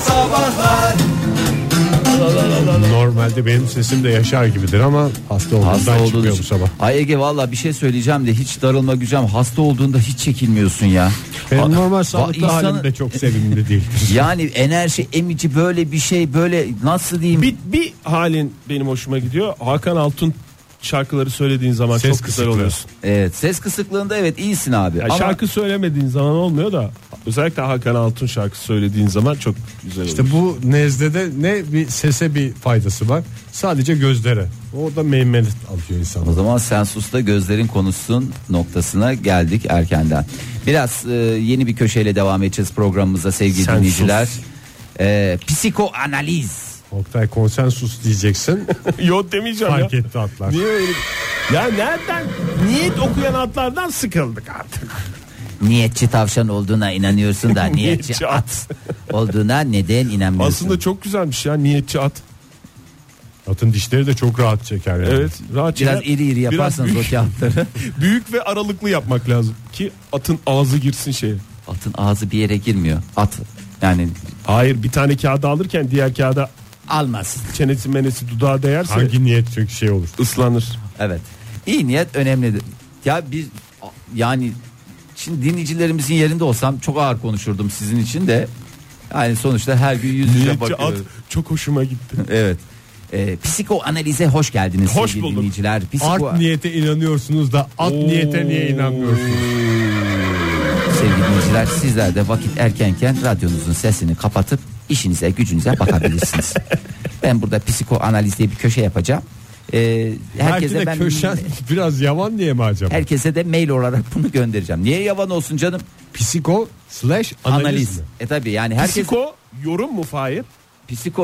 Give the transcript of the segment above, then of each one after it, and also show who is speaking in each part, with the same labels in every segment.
Speaker 1: sabahlar
Speaker 2: Normalde benim sesim de yaşar gibidir ama hasta olduğumdan
Speaker 3: Hasta
Speaker 2: çıkmıyor bu
Speaker 3: olduğunuz.
Speaker 2: sabah.
Speaker 3: Ay Ege valla bir şey söyleyeceğim de hiç darılma gücem. Hasta olduğunda hiç çekilmiyorsun ya.
Speaker 2: Benim
Speaker 3: Aa,
Speaker 2: normal
Speaker 3: va-
Speaker 2: sağlıklı
Speaker 3: insanı-
Speaker 2: halim de çok sevimli değil.
Speaker 3: Yani enerji emici böyle bir şey böyle nasıl diyeyim?
Speaker 4: Bir, bir halin benim hoşuma gidiyor. Hakan Altun şarkıları söylediğin zaman
Speaker 2: Ses
Speaker 4: çok güzel
Speaker 2: kısıklığı.
Speaker 4: oluyorsun.
Speaker 3: Evet ses kısıklığında evet iyisin abi.
Speaker 4: Ya
Speaker 3: Ama
Speaker 4: Şarkı söylemediğin zaman olmuyor da özellikle Hakan Altun şarkı söylediğin zaman çok güzel oluyor.
Speaker 2: İşte bu nezlede ne bir sese bir faydası var. Sadece gözlere. Orada meymenet alıyor insan.
Speaker 3: o zaman sen sus da gözlerin konuşsun noktasına geldik erkenden. Biraz e, yeni bir köşeyle devam edeceğiz programımıza sevgili
Speaker 4: Sen
Speaker 3: dinleyiciler.
Speaker 4: sus.
Speaker 3: E, psikoanaliz.
Speaker 2: Oktay konsensus diyeceksin.
Speaker 4: Yok demeyeceğim
Speaker 2: Fark
Speaker 4: ya.
Speaker 2: etti atlar.
Speaker 4: Niye öyle? Ya nereden? Niyet okuyan atlardan sıkıldık artık.
Speaker 3: Niyetçi tavşan olduğuna inanıyorsun da niyetçi
Speaker 4: Niyetçi
Speaker 3: at
Speaker 4: at.
Speaker 3: olduğuna neden inanmıyorsun?
Speaker 4: Aslında çok güzelmiş ya niyetçi at.
Speaker 2: Atın dişleri de çok rahat çeker yani.
Speaker 4: Evet rahat
Speaker 3: Biraz
Speaker 4: şeyler.
Speaker 3: iri iri
Speaker 4: Biraz
Speaker 3: yaparsanız
Speaker 4: büyük,
Speaker 3: o kağıtları.
Speaker 4: büyük ve aralıklı yapmak lazım ki atın ağzı girsin şeye.
Speaker 3: Atın ağzı bir yere girmiyor. At yani
Speaker 4: Hayır bir tane kağıdı alırken diğer kağıda
Speaker 3: almaz.
Speaker 4: çenesi menesi dudağı değerse
Speaker 2: Hangi niyet çünkü şey olur.
Speaker 4: ıslanır.
Speaker 3: Evet. İyi niyet önemlidir. Ya biz yani şimdi dinleyicilerimizin yerinde olsam çok ağır konuşurdum sizin için de. Yani sonuçta her gün yüz yüze
Speaker 4: Niyetçi at
Speaker 3: bakıyoruz.
Speaker 4: çok hoşuma gitti.
Speaker 3: Evet. Ee, psikoanalize hoş geldiniz
Speaker 4: Hoş
Speaker 3: sevgili
Speaker 4: bulduk.
Speaker 3: dinleyiciler. Psiko,
Speaker 2: Art niyete inanıyorsunuz da at niyete niye inanmıyorsunuz?
Speaker 3: sevgili dinleyiciler sizler de vakit erkenken radyonuzun sesini kapatıp işinize gücünüze bakabilirsiniz. ben burada psikoanaliz diye bir köşe yapacağım. Ee,
Speaker 2: Herkese
Speaker 3: herkese
Speaker 2: Belki de
Speaker 3: ben
Speaker 2: köşen biraz yavan diye mi acaba?
Speaker 3: herkese de mail olarak bunu göndereceğim. Niye yavan olsun canım?
Speaker 2: Psiko slash analiz.
Speaker 3: analiz.
Speaker 2: mi?
Speaker 3: E tabi yani herkes psiko,
Speaker 4: Psiko yorum mu Fahir?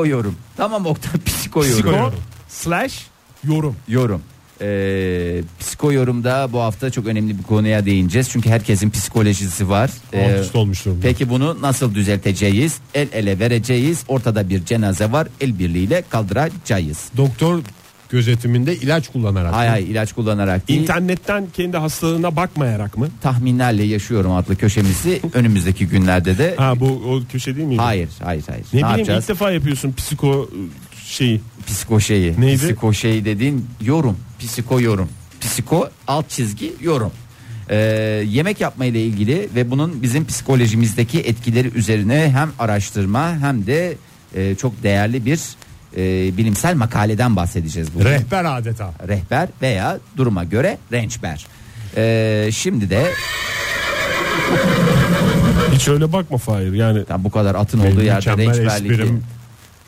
Speaker 3: yorum. Tamam Oktay psiko yorum.
Speaker 4: Psiko slash yorum.
Speaker 3: Yorum. Ee, psiko yorumda bu hafta çok önemli bir konuya değineceğiz. Çünkü herkesin psikolojisi var. Ee,
Speaker 2: Alt üst olmuş durumda.
Speaker 3: Peki bunu nasıl düzelteceğiz? El ele vereceğiz. Ortada bir cenaze var. El birliğiyle kaldıracağız.
Speaker 2: Doktor gözetiminde ilaç kullanarak.
Speaker 3: Hay hay ilaç kullanarak değil.
Speaker 4: İnternetten kendi hastalığına bakmayarak mı?
Speaker 3: tahminlerle yaşıyorum adlı köşemizi önümüzdeki günlerde de
Speaker 4: Ha bu o köşe değil miydi?
Speaker 3: hayır hayır hayır.
Speaker 4: Ne,
Speaker 3: ne
Speaker 4: bileyim
Speaker 3: yapacağız?
Speaker 4: ilk defa yapıyorsun psiko e, şeyi.
Speaker 3: Psiko şeyi.
Speaker 4: Neydi?
Speaker 3: Psiko şeyi dediğin yorum. Psiko yorum. Psiko alt çizgi yorum. Ee, yemek yapma ile ilgili ve bunun bizim psikolojimizdeki etkileri üzerine hem araştırma hem de e, çok değerli bir e, bilimsel makaleden bahsedeceğiz bugün.
Speaker 2: Rehber adeta.
Speaker 3: Rehber veya duruma göre rençber. Ee, şimdi de
Speaker 4: Hiç öyle bakma Fahir yani.
Speaker 3: tam bu kadar atın
Speaker 2: Benim
Speaker 3: olduğu yerde
Speaker 2: mükemmel
Speaker 3: rençberlik.
Speaker 2: esprim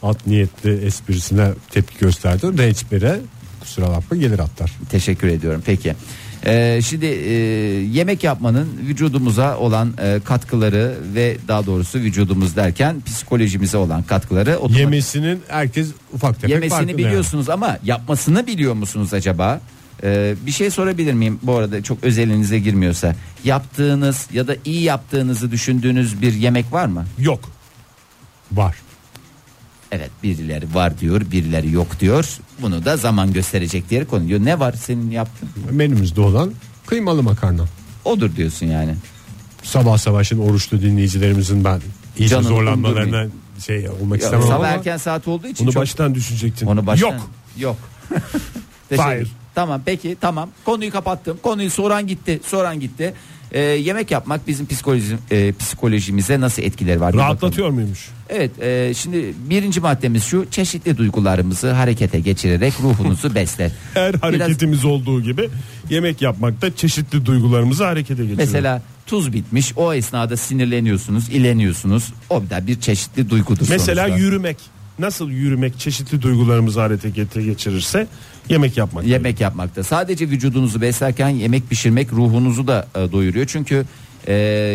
Speaker 2: at niyetli esprisine tepki gösterdin. Rençbere kusura bakma gelir atlar.
Speaker 3: Teşekkür ediyorum. Peki. Ee, şimdi e, yemek yapmanın vücudumuza olan e, katkıları ve daha doğrusu vücudumuz derken psikolojimize olan katkıları otomatik-
Speaker 2: Yemesinin herkes ufak tefek farkında
Speaker 3: yemesini
Speaker 2: yani.
Speaker 3: biliyorsunuz ama yapmasını biliyor musunuz acaba? Ee, bir şey sorabilir miyim bu arada çok özelinize girmiyorsa yaptığınız ya da iyi yaptığınızı düşündüğünüz bir yemek var mı?
Speaker 4: Yok.
Speaker 2: Var.
Speaker 3: Evet birileri var diyor birileri yok diyor bunu da zaman gösterecek diye konuyor ne var senin yaptığın
Speaker 2: Menümüzde olan kıymalı makarna.
Speaker 3: odur diyorsun yani
Speaker 2: Sabah sabah şimdi oruçlu dinleyicilerimizin ben iyice
Speaker 3: Canını
Speaker 2: zorlanmalarına şey olmak
Speaker 3: Ya,
Speaker 2: istemem ama
Speaker 3: sabah erken saat olduğu için
Speaker 4: Bunu
Speaker 3: çok
Speaker 4: baştan düşünecektin.
Speaker 3: Onu baştan...
Speaker 4: Yok.
Speaker 3: Yok. Teşekkür-
Speaker 4: Hayır.
Speaker 3: Tamam peki tamam. Konuyu kapattım. Konuyu soran gitti. Soran gitti. Ee, yemek yapmak bizim psikoloji, e, psikolojimize nasıl etkileri var? Bir bakalım.
Speaker 4: Rahatlatıyor muymuş?
Speaker 3: Evet e, şimdi birinci maddemiz şu. Çeşitli duygularımızı harekete geçirerek ruhunuzu besler.
Speaker 4: Her
Speaker 3: Biraz-
Speaker 4: hareketimiz olduğu gibi yemek yapmakta çeşitli duygularımızı harekete geçiriyor.
Speaker 3: Mesela tuz bitmiş o esnada sinirleniyorsunuz, ileniyorsunuz. O da bir çeşitli duygudur
Speaker 4: Mesela
Speaker 3: sonuçta.
Speaker 4: yürümek. Nasıl yürümek çeşitli duygularımızı harekete geçirirse yemek yapmak.
Speaker 3: Yemek yapmakta. Sadece vücudunuzu beslerken yemek pişirmek ruhunuzu da e, doyuruyor. Çünkü e,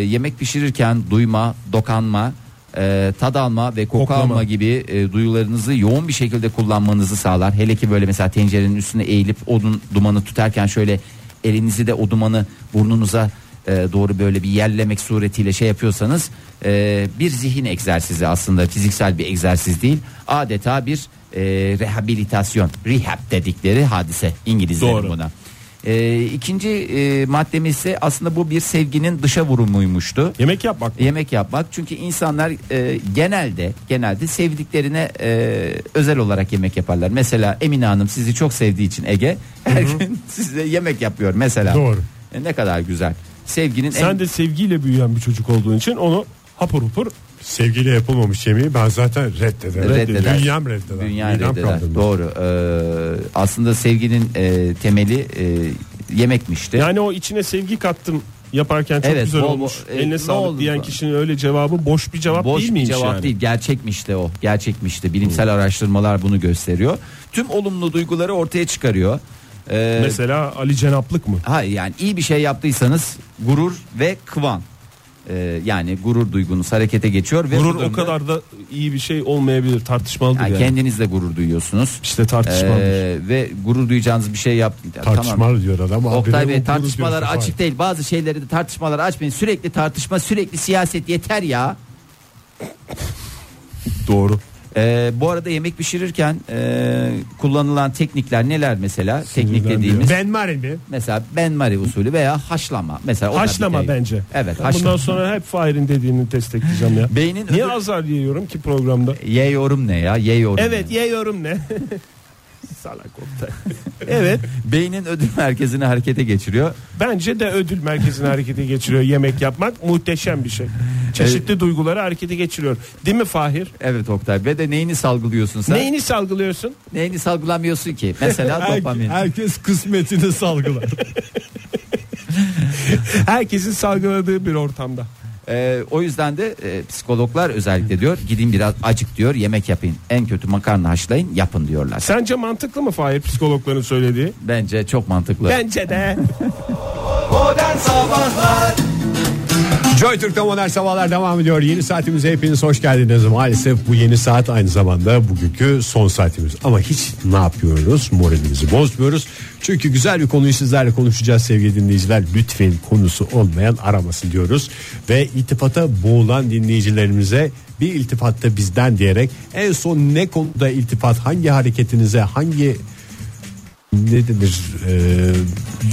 Speaker 3: yemek pişirirken duyma, dokanma, e, tad alma ve koku
Speaker 4: Koklama.
Speaker 3: alma gibi e, duyularınızı yoğun bir şekilde kullanmanızı sağlar. Hele ki böyle mesela tencerenin üstüne eğilip odun dumanı tutarken şöyle elinizi de o dumanı burnunuza e, doğru böyle bir yerlemek suretiyle şey yapıyorsanız e, bir zihin egzersizi aslında fiziksel bir egzersiz değil adeta bir e, rehabilitasyon rehab dedikleri hadise İngilizlerin
Speaker 4: Doğru.
Speaker 3: buna. E, ikinci e, maddemiz ise aslında bu bir sevginin dışa vurumuymuştu.
Speaker 4: Yemek yapmak.
Speaker 3: Yemek yapmak çünkü insanlar e, genelde genelde sevdiklerine e, özel olarak yemek yaparlar. Mesela Emine Hanım sizi çok sevdiği için Ege her gün size yemek yapıyor mesela.
Speaker 2: Doğru.
Speaker 3: E, ne kadar güzel. Sevginin en
Speaker 4: Sen de sevgiyle büyüyen bir çocuk olduğun için onu hapur hupur
Speaker 2: Sevgiyle yapılmamış yemeği ben zaten reddederim.
Speaker 3: Reddeder.
Speaker 2: Dünyam reddeder.
Speaker 3: Dünya
Speaker 2: Midem
Speaker 3: reddeder.
Speaker 2: kaldırmaz.
Speaker 3: Doğru. Ee, aslında sevginin e, temeli e, yemekmişti.
Speaker 4: Yani o içine sevgi kattım yaparken çok
Speaker 3: Evet,
Speaker 4: güzel
Speaker 3: bol bol-
Speaker 4: olmuş.
Speaker 3: e, ne
Speaker 4: Eline
Speaker 3: oldu
Speaker 4: sağlık diyen
Speaker 3: da?
Speaker 4: kişinin öyle cevabı boş bir cevap
Speaker 3: Boş
Speaker 4: değil
Speaker 3: bir
Speaker 4: miymiş
Speaker 3: cevap
Speaker 4: yani?
Speaker 3: değil. Gerçekmişti o. Gerçekmişti. Bilimsel araştırmalar bunu gösteriyor. Tüm olumlu duyguları ortaya çıkarıyor. Ee,
Speaker 4: Mesela Ali Cenaplık mı?
Speaker 3: hayır yani iyi bir şey yaptıysanız gurur ve kıvam. Ee, yani gurur duygunuz harekete geçiyor ve
Speaker 4: Gurur
Speaker 3: bu dönemde-
Speaker 4: o kadar da iyi bir şey olmayabilir. Tartışmalıdır
Speaker 3: yani
Speaker 4: yani.
Speaker 3: kendinizle gurur duyuyorsunuz.
Speaker 4: İşte tartışmalıdır.
Speaker 3: Ee, ve gurur duyacağınız bir şey yap
Speaker 2: Tartışmalı diyor adam.
Speaker 3: Oktay
Speaker 2: Habire
Speaker 3: Bey
Speaker 2: vurdu
Speaker 3: tartışmalar
Speaker 2: diyorsun.
Speaker 3: açık değil. Bazı şeyleri de tartışmalar açmayın. Sürekli tartışma, sürekli siyaset yeter ya.
Speaker 4: Doğru.
Speaker 3: Ee, bu arada yemek pişirirken e, kullanılan teknikler neler mesela? Teknik dediğimiz
Speaker 2: Ben marim mi?
Speaker 3: mesela benmari usulü veya haşlama. Mesela o da bir
Speaker 4: Haşlama
Speaker 3: teknik.
Speaker 4: bence.
Speaker 3: Evet,
Speaker 4: Ben
Speaker 3: haşlama.
Speaker 4: Bundan sonra hep Fahir'in dediğini destekleyeceğim ya.
Speaker 3: Beynin
Speaker 4: Niye
Speaker 3: öbür-
Speaker 4: azar yiyorum ki programda?
Speaker 3: Ye yorum ne ya? Ye yorum.
Speaker 4: Evet
Speaker 3: ne?
Speaker 4: yiyorum ne? Salak Oktay. evet.
Speaker 3: Beynin ödül merkezini harekete geçiriyor.
Speaker 4: Bence de ödül merkezini harekete geçiriyor. Yemek yapmak muhteşem bir şey. Çeşitli duyguları harekete geçiriyor. Değil mi Fahir?
Speaker 3: Evet Oktay ve de neyini salgılıyorsun sen?
Speaker 4: Neyini salgılıyorsun?
Speaker 3: Neyini salgılamıyorsun ki? Mesela dopamin.
Speaker 2: Herkes kısmetini salgılar.
Speaker 4: Herkesin salgıladığı bir ortamda.
Speaker 3: Ee, o yüzden de e, psikologlar özellikle diyor gidin biraz acık diyor yemek yapın. En kötü makarna haşlayın yapın diyorlar.
Speaker 4: Sence mantıklı mı Fahir psikologların söylediği?
Speaker 3: Bence çok mantıklı.
Speaker 4: Bence de.
Speaker 2: Joy Türk'te modern sabahlar devam ediyor. Yeni saatimize hepiniz hoş geldiniz. Maalesef bu yeni saat aynı zamanda bugünkü son saatimiz. Ama hiç ne yapıyoruz? Moralimizi bozmuyoruz. Çünkü güzel bir konuyu sizlerle konuşacağız sevgili dinleyiciler. Lütfen konusu olmayan aramasın diyoruz. Ve iltifata boğulan dinleyicilerimize bir iltifatta bizden diyerek en son ne konuda iltifat hangi hareketinize hangi ne denir e,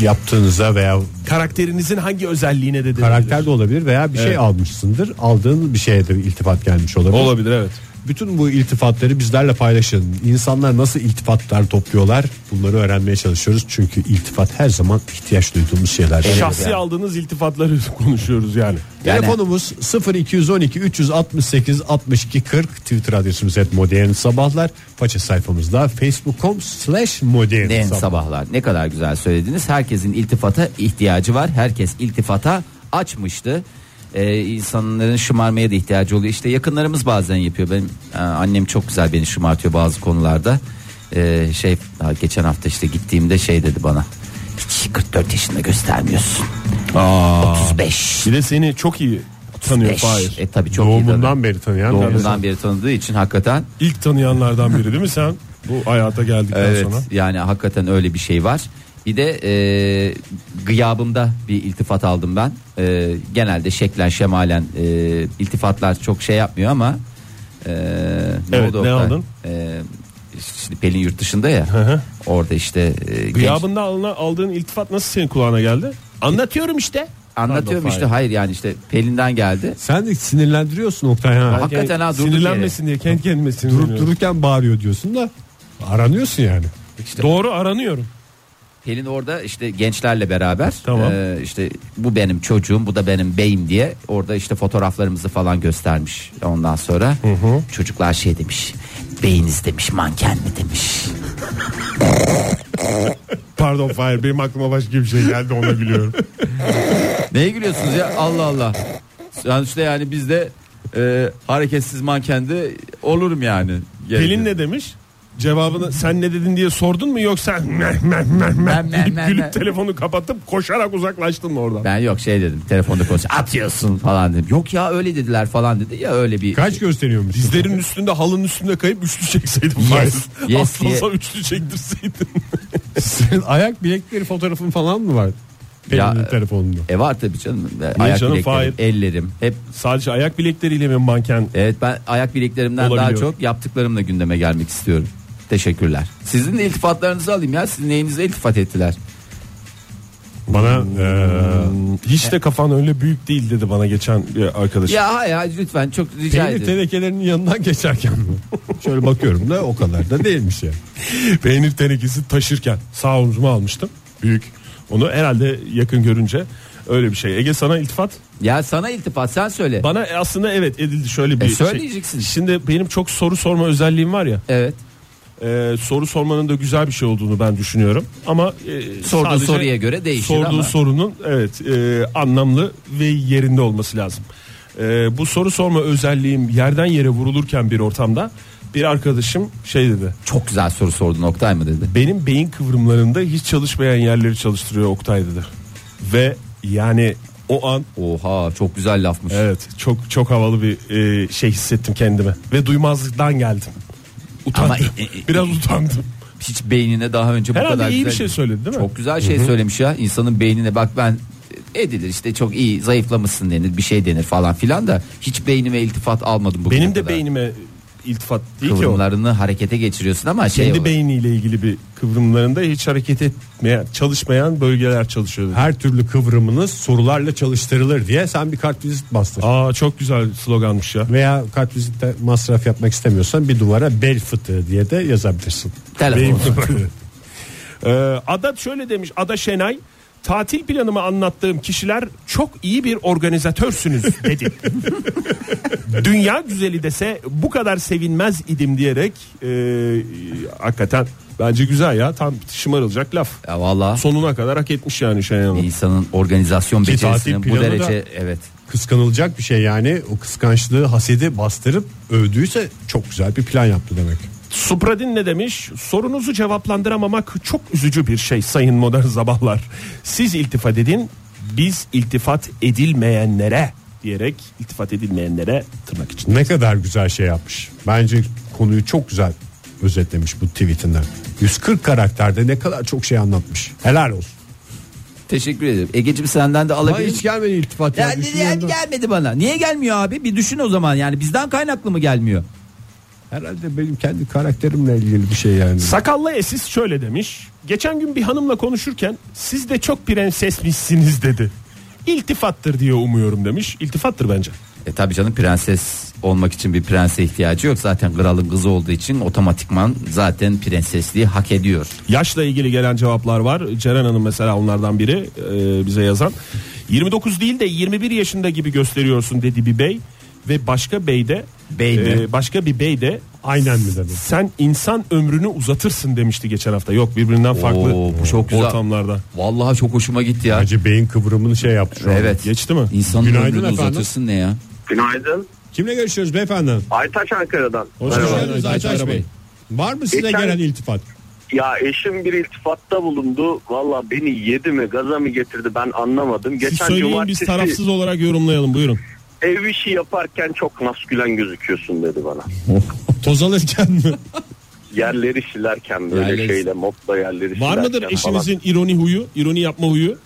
Speaker 2: yaptığınıza veya
Speaker 4: Karakterinizin hangi özelliğine de
Speaker 2: Karakter de olabilir veya bir şey
Speaker 4: Evet.
Speaker 2: almışsındır. Aldığın bir şeye de bir iltifat gelmiş olabilir.
Speaker 4: Olabilir evet.
Speaker 2: Bütün bu iltifatları bizlerle paylaşın. İnsanlar nasıl iltifatlar topluyorlar? Bunları öğrenmeye çalışıyoruz. Çünkü iltifat her zaman ihtiyaç duyduğumuz şeyler.
Speaker 4: Şahsi
Speaker 3: yani.
Speaker 4: aldığınız iltifatları konuşuyoruz yani.
Speaker 3: Yani-
Speaker 2: Telefonumuz 0212 368 62 40 Twitter adresimiz et modern sabahlar. Faça sayfamızda facebook.com slash modern
Speaker 3: En
Speaker 2: sabah.
Speaker 3: sabahlar ne kadar güzel söylediniz. Herkesin iltifata ihtiyacı var. Herkes iltifata açmıştı. Ee, insanların şımarmaya da ihtiyacı oluyor. İşte yakınlarımız bazen yapıyor. Benim e, annem çok güzel beni şımartıyor bazı konularda. Ee, şey daha geçen hafta işte gittiğimde şey dedi bana. Hiç 44 yaşında göstermiyorsun. 35.
Speaker 4: Bir de seni çok iyi tanıyor
Speaker 3: 35.
Speaker 4: Fahir.
Speaker 3: E tabii çok iyi tanıyor.
Speaker 2: Doğumundan beri tanıyan bir adam.
Speaker 3: Doğumundan beri tanıdığı için hakikaten
Speaker 4: İlk tanıyanlardan biri değil mi sen? Bu hayata geldikten
Speaker 3: Evet
Speaker 4: sonra.
Speaker 3: yani hakikaten öyle bir şey var. Bir de e, gıyabımda bir iltifat aldım ben. E, genelde şeklen şemalen e, iltifatlar çok şey yapmıyor ama e,
Speaker 4: Evet,
Speaker 3: oldu
Speaker 4: ne
Speaker 3: Oktay?
Speaker 4: aldın?
Speaker 3: E, şimdi Pelin yurt dışında ya. orada işte e, genç-
Speaker 4: Gıyabında alına- aldığın iltifat nasıl senin kulağına geldi? Anlatıyorum işte.
Speaker 3: anlatıyorum işte hayır yani işte Pelin'den geldi.
Speaker 2: Sen de sinirlendiriyorsun Oktay ha.
Speaker 3: Hakikaten ha durduk
Speaker 4: Sinirlenmesin diye kendi kendime
Speaker 2: Durup
Speaker 4: sinirleniyorum.
Speaker 2: dururken bağırıyor diyorsun da aranıyorsun yani.
Speaker 4: Doğru aranıyorum.
Speaker 3: Pelin orada işte gençlerle beraber
Speaker 4: Tamam.
Speaker 3: e, işte bu benim çocuğum bu da benim beyim diye orada işte fotoğraflarımızı falan göstermiş. Ondan sonra çocuklar şey demiş. Beyiniz demiş manken mi demiş.
Speaker 2: Pardon Fahir benim aklıma başka bir şey geldi ona gülüyorum.
Speaker 3: Neye gülüyorsunuz ya Allah Allah. Yani işte yani biz de e, hareketsiz mankende olurum yani.
Speaker 4: Pelin ne demiş? Cevabını sen ne dedin diye sordun mu yoksa meh meh meh
Speaker 3: Meh,
Speaker 4: meh
Speaker 3: meh,
Speaker 4: deyip
Speaker 3: meh, meh.
Speaker 4: gülüp telefonu kapatıp koşarak uzaklaştın mı oradan?
Speaker 3: Ben yok şey dedim telefonda konuş atıyorsun falan dedim. Yok ya öyle dediler falan dedi ya öyle bir.
Speaker 2: Kaç gösteriyormuş?
Speaker 4: Dizlerin üstünde halının üstünde kayıp üçlü çekseydim. Yes,
Speaker 3: yes
Speaker 4: Aslında
Speaker 3: diye.
Speaker 4: üçlü çektirseydin.
Speaker 2: Senin ayak bilekleri fotoğrafın falan mı var?
Speaker 3: Ya-
Speaker 2: Pelin'in telefonunda.
Speaker 3: E var tabii canım. Ayak
Speaker 4: canım,
Speaker 3: bileklerim,
Speaker 4: Fahir?
Speaker 3: ellerim hep
Speaker 4: Sadece ayak bilekleriyle mi manken?
Speaker 3: Evet ben ayak bileklerimden daha
Speaker 4: Olabiliyor.
Speaker 3: çok yaptıklarımla gündeme gelmek istiyorum. Teşekkürler. Sizin de iltifatlarınızı alayım ya. Siz neyinize iltifat ettiler?
Speaker 2: Bana
Speaker 4: e, Hiç de kafan öyle büyük değil dedi bana geçen bir arkadaş.
Speaker 3: Ya hayır, hayır lütfen çok rica
Speaker 2: peynir
Speaker 3: ederim.
Speaker 2: tenekelerinin yanından geçerken mi? Şöyle bakıyorum da o kadar da değilmiş ya.
Speaker 4: Peynir tenekesi taşırken sağ omzuma almıştım. Büyük. Onu herhalde yakın görünce öyle bir şey. Ege sana iltifat.
Speaker 3: Ya sana iltifat sen söyle.
Speaker 4: Bana aslında evet edildi şöyle bir
Speaker 3: E,
Speaker 4: şey.
Speaker 3: söyleyeceksin.
Speaker 4: Şimdi benim çok soru sorma özelliğim var ya.
Speaker 3: evet.
Speaker 4: Ee, soru sormanın da güzel bir şey olduğunu ben düşünüyorum. Ama e,
Speaker 3: Sorduğu
Speaker 4: sadece
Speaker 3: soruya göre değişir
Speaker 4: sorduğu
Speaker 3: ama.
Speaker 4: sorunun evet e, anlamlı ve yerinde olması lazım. E, bu soru sorma özelliğim yerden yere vurulurken bir ortamda bir arkadaşım şey dedi.
Speaker 3: Çok güzel soru sordun Oktay mı dedi.
Speaker 4: Benim beyin kıvrımlarında hiç çalışmayan yerleri çalıştırıyor Oktay dedi. Ve yani o an
Speaker 3: Oha çok güzel lafmış.
Speaker 4: evet çok çok havalı bir e, şey hissettim kendime ve duymazlıktan geldim. Utandım.
Speaker 3: Ama-
Speaker 4: Biraz utandım.
Speaker 3: Hiç beynine daha önce bu kadar
Speaker 4: Herhalde iyi bir
Speaker 3: güzel-
Speaker 4: şey söyledi değil mi?
Speaker 3: Çok güzel şey söylemiş ya. İnsanın beynine bak ben e, edilir işte çok iyi zayıflamışsın denir bir şey denir falan filan da hiç beynime iltifat almadım bugüne
Speaker 4: Benim de
Speaker 3: kadar.
Speaker 4: beynime iltifat değil ki o.
Speaker 3: kıvrımlarını harekete geçiriyorsun ama şey
Speaker 4: Kendi
Speaker 3: olarak-
Speaker 4: beyniyle ilgili bir kıvrımlarında hiç hareket etmeyen, çalışmayan bölgeler çalışıyordu.
Speaker 2: Her türlü kıvrımınız sorularla çalıştırılır diye sen bir kartvizit bastır.
Speaker 4: Aa çok güzel sloganmış ya.
Speaker 2: Veya kartvizitte masraf yapmak istemiyorsan bir duvara bel fıtığı diye de yazabilirsin.
Speaker 3: Telefon.
Speaker 2: Beyin-
Speaker 4: Ee, Ada şöyle demiş. Ada Şenay tatil planımı anlattığım kişiler çok iyi bir organizatörsünüz dedi. Dünya güzeli dese bu kadar sevinmez idim diyerek e, hakikaten bence güzel ya tam şımarılacak laf.
Speaker 3: Ya valla
Speaker 4: Sonuna kadar hak etmiş yani Şenay Hanım.
Speaker 3: insanın organizasyon
Speaker 2: Ki tatil
Speaker 3: becerisinin bu
Speaker 2: planı da-
Speaker 3: derece evet.
Speaker 2: Kıskanılacak bir şey yani o kıskançlığı hasedi bastırıp övdüyse çok güzel bir plan yaptı demek.
Speaker 4: Supradin ne demiş? Sorunuzu cevaplandıramamak çok üzücü bir şey sayın modern sabahlar. Siz iltifat edin, biz iltifat edilmeyenlere diyerek iltifat edilmeyenlere tırnak için.
Speaker 2: Ne kadar güzel şey yapmış. Bence konuyu çok güzel özetlemiş bu tweetinden. 140 karakterde ne kadar çok şey anlatmış. Helal olsun.
Speaker 3: Teşekkür ederim. Egeciğim senden de
Speaker 2: Ama
Speaker 3: alabilir
Speaker 2: hiç
Speaker 3: miyim?
Speaker 2: gelmedi iltifat.
Speaker 3: Ya,
Speaker 2: Ya,
Speaker 3: ya,
Speaker 2: düşünüyorum da.
Speaker 3: gelmedi bana. Niye gelmiyor abi? Bir düşün o zaman yani bizden kaynaklı mı gelmiyor?
Speaker 2: Herhalde benim kendi karakterimle ilgili bir şey yani.
Speaker 4: Sakallı Esis şöyle demiş. Geçen gün bir hanımla konuşurken siz de çok prensesmişsiniz dedi. İltifattır diye umuyorum demiş. İltifattır bence.
Speaker 3: E tabi canım prenses olmak için bir prense ihtiyacı yok. Zaten kralın kızı olduğu için otomatikman zaten prensesliği hak ediyor.
Speaker 4: Yaşla ilgili gelen cevaplar var. Ceren Hanım mesela onlardan biri e, bize yazan. 29 değil de 21 yaşında gibi gösteriyorsun dedi bir bey ve başka bey de e,
Speaker 3: Bey mi?
Speaker 4: başka bir bey de
Speaker 2: Aynen mi dedi?
Speaker 4: sen insan ömrünü uzatırsın demişti geçen hafta. Yok birbirinden farklı
Speaker 3: Oo, bu çok güzel.
Speaker 4: ortamlarda.
Speaker 3: Vallahi çok hoşuma gitti ya.
Speaker 2: Bence beyin kıvrımını şey yaptı şu an.
Speaker 3: Evet.
Speaker 4: Geçti mi?
Speaker 3: İnsanın
Speaker 2: Günaydın
Speaker 3: ömrünü
Speaker 2: efendim.
Speaker 3: uzatırsın ne ya?
Speaker 1: Günaydın.
Speaker 2: Kimle görüşüyoruz beyefendi?
Speaker 1: Aytaç Ankara'dan.
Speaker 4: Hoş
Speaker 1: Merhaba.
Speaker 4: geldin.
Speaker 2: geldiniz
Speaker 4: Aytaç
Speaker 2: Aytaç
Speaker 4: Bey.
Speaker 2: Bey. Var mı size
Speaker 1: Geçen-
Speaker 2: gelen iltifat?
Speaker 1: Ya eşim bir iltifatta bulundu. Valla beni yedi mi gaza mı getirdi ben anlamadım.
Speaker 4: Siz
Speaker 1: Geçen
Speaker 4: söyleyin biz
Speaker 1: cumartesi
Speaker 4: tarafsız olarak yorumlayalım buyurun.
Speaker 1: ev işi yaparken çok maskülen gözüküyorsun dedi bana.
Speaker 2: Toz alırken mi?
Speaker 1: Yerleri silerken böyle
Speaker 3: Yerleri-
Speaker 1: şeyle mopla yerleri
Speaker 4: Var
Speaker 1: silerken
Speaker 4: mıdır
Speaker 1: falan.
Speaker 4: eşinizin ironi huyu, ironi yapma huyu?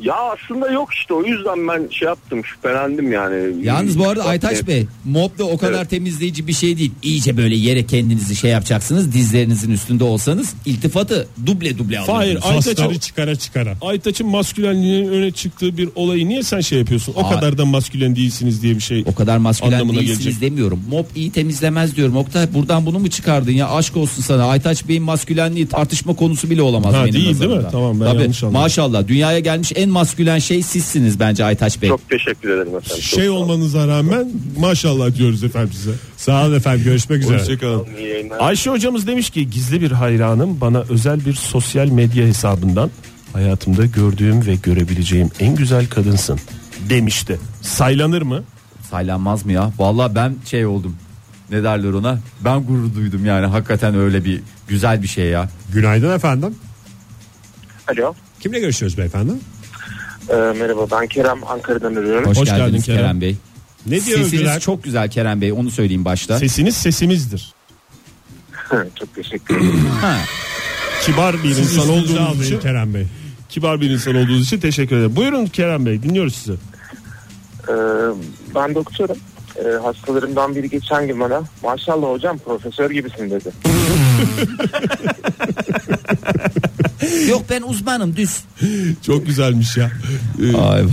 Speaker 1: Ya aslında yok işte o yüzden ben şey yaptım şüphelendim yani.
Speaker 3: Yalnız bu arada Aytaç
Speaker 1: Evet.
Speaker 3: Bey mop da o kadar
Speaker 1: Ee, Evet.
Speaker 3: temizleyici bir şey değil. İyice böyle yere kendinizi şey yapacaksınız. Dizlerinizin üstünde olsanız iltifatı duble duble
Speaker 4: Hayır,
Speaker 3: alıyorsunuz.
Speaker 4: Aytaç'ın
Speaker 2: Saçları çıkara çıkara.
Speaker 4: Aytaç'ın maskülenliğinin öne çıktığı bir olayı niye sen şey yapıyorsun? O
Speaker 3: Aa.
Speaker 4: kadar da maskülen değilsiniz diye bir şey.
Speaker 3: O kadar maskülen
Speaker 4: Anlamına
Speaker 3: değilsiniz
Speaker 4: gelecek.
Speaker 3: demiyorum. Mop iyi temizlemez diyorum. Oktay buradan bunu mu çıkardın ya? Aşk olsun sana. Aytaç Bey'in maskülenliği tartışma konusu bile olamaz
Speaker 4: Ha,
Speaker 3: benim
Speaker 4: değil, değil mi?
Speaker 3: nazarımda.
Speaker 4: Tamam, ben
Speaker 3: Tabii,
Speaker 4: yanlış anladım.
Speaker 3: Maşallah dünyaya gelmiş en maskülen şey sizsiniz bence Aytaç Bey.
Speaker 1: Çok teşekkür ederim efendim. Çok
Speaker 4: Şey
Speaker 1: sağ olun.
Speaker 4: olmanıza rağmen maşallah diyoruz efendim size.
Speaker 2: Sağ olun efendim görüşmek üzere.
Speaker 4: Hoşçakalın.
Speaker 1: İyi yayınlar.
Speaker 4: Ayşe hocamız demiş ki gizli bir hayranım bana özel bir sosyal medya hesabından hayatımda gördüğüm ve görebileceğim en güzel kadınsın demişti. Saylanır mı?
Speaker 3: Saylanmaz mı ya? Vallahi ben şey oldum. Ne derler ona? Ben gurur duydum yani hakikaten öyle bir güzel bir şey ya.
Speaker 2: Günaydın efendim.
Speaker 5: Alo.
Speaker 2: Kimle görüşüyoruz beyefendi?
Speaker 5: Ee, merhaba ben Kerem Ankara'dan arıyorum.
Speaker 3: Hoş,
Speaker 4: Hoş geldin
Speaker 3: geldiniz Kerem.
Speaker 4: Kerem
Speaker 3: Bey.
Speaker 2: Ne diyor
Speaker 3: Sesiniz
Speaker 2: övgüler?
Speaker 3: çok güzel Kerem Bey onu söyleyeyim başta.
Speaker 4: Sesiniz sesimizdir.
Speaker 5: Çok teşekkür ederim.
Speaker 4: Kibar bir insan
Speaker 2: Üstünüze
Speaker 4: olduğunuz
Speaker 2: almayın
Speaker 4: için
Speaker 2: Kerem Bey.
Speaker 4: kibar bir insan olduğunuz için teşekkür ederim. Buyurun Kerem Bey dinliyoruz sizi.
Speaker 5: Ee, ben doktorum. Ee, hastalarımdan biri geçen gün bana maşallah hocam profesör gibisin dedi.
Speaker 3: Yok ben uzmanım düz.
Speaker 2: Çok güzelmiş ya. Ee,
Speaker 3: Ay,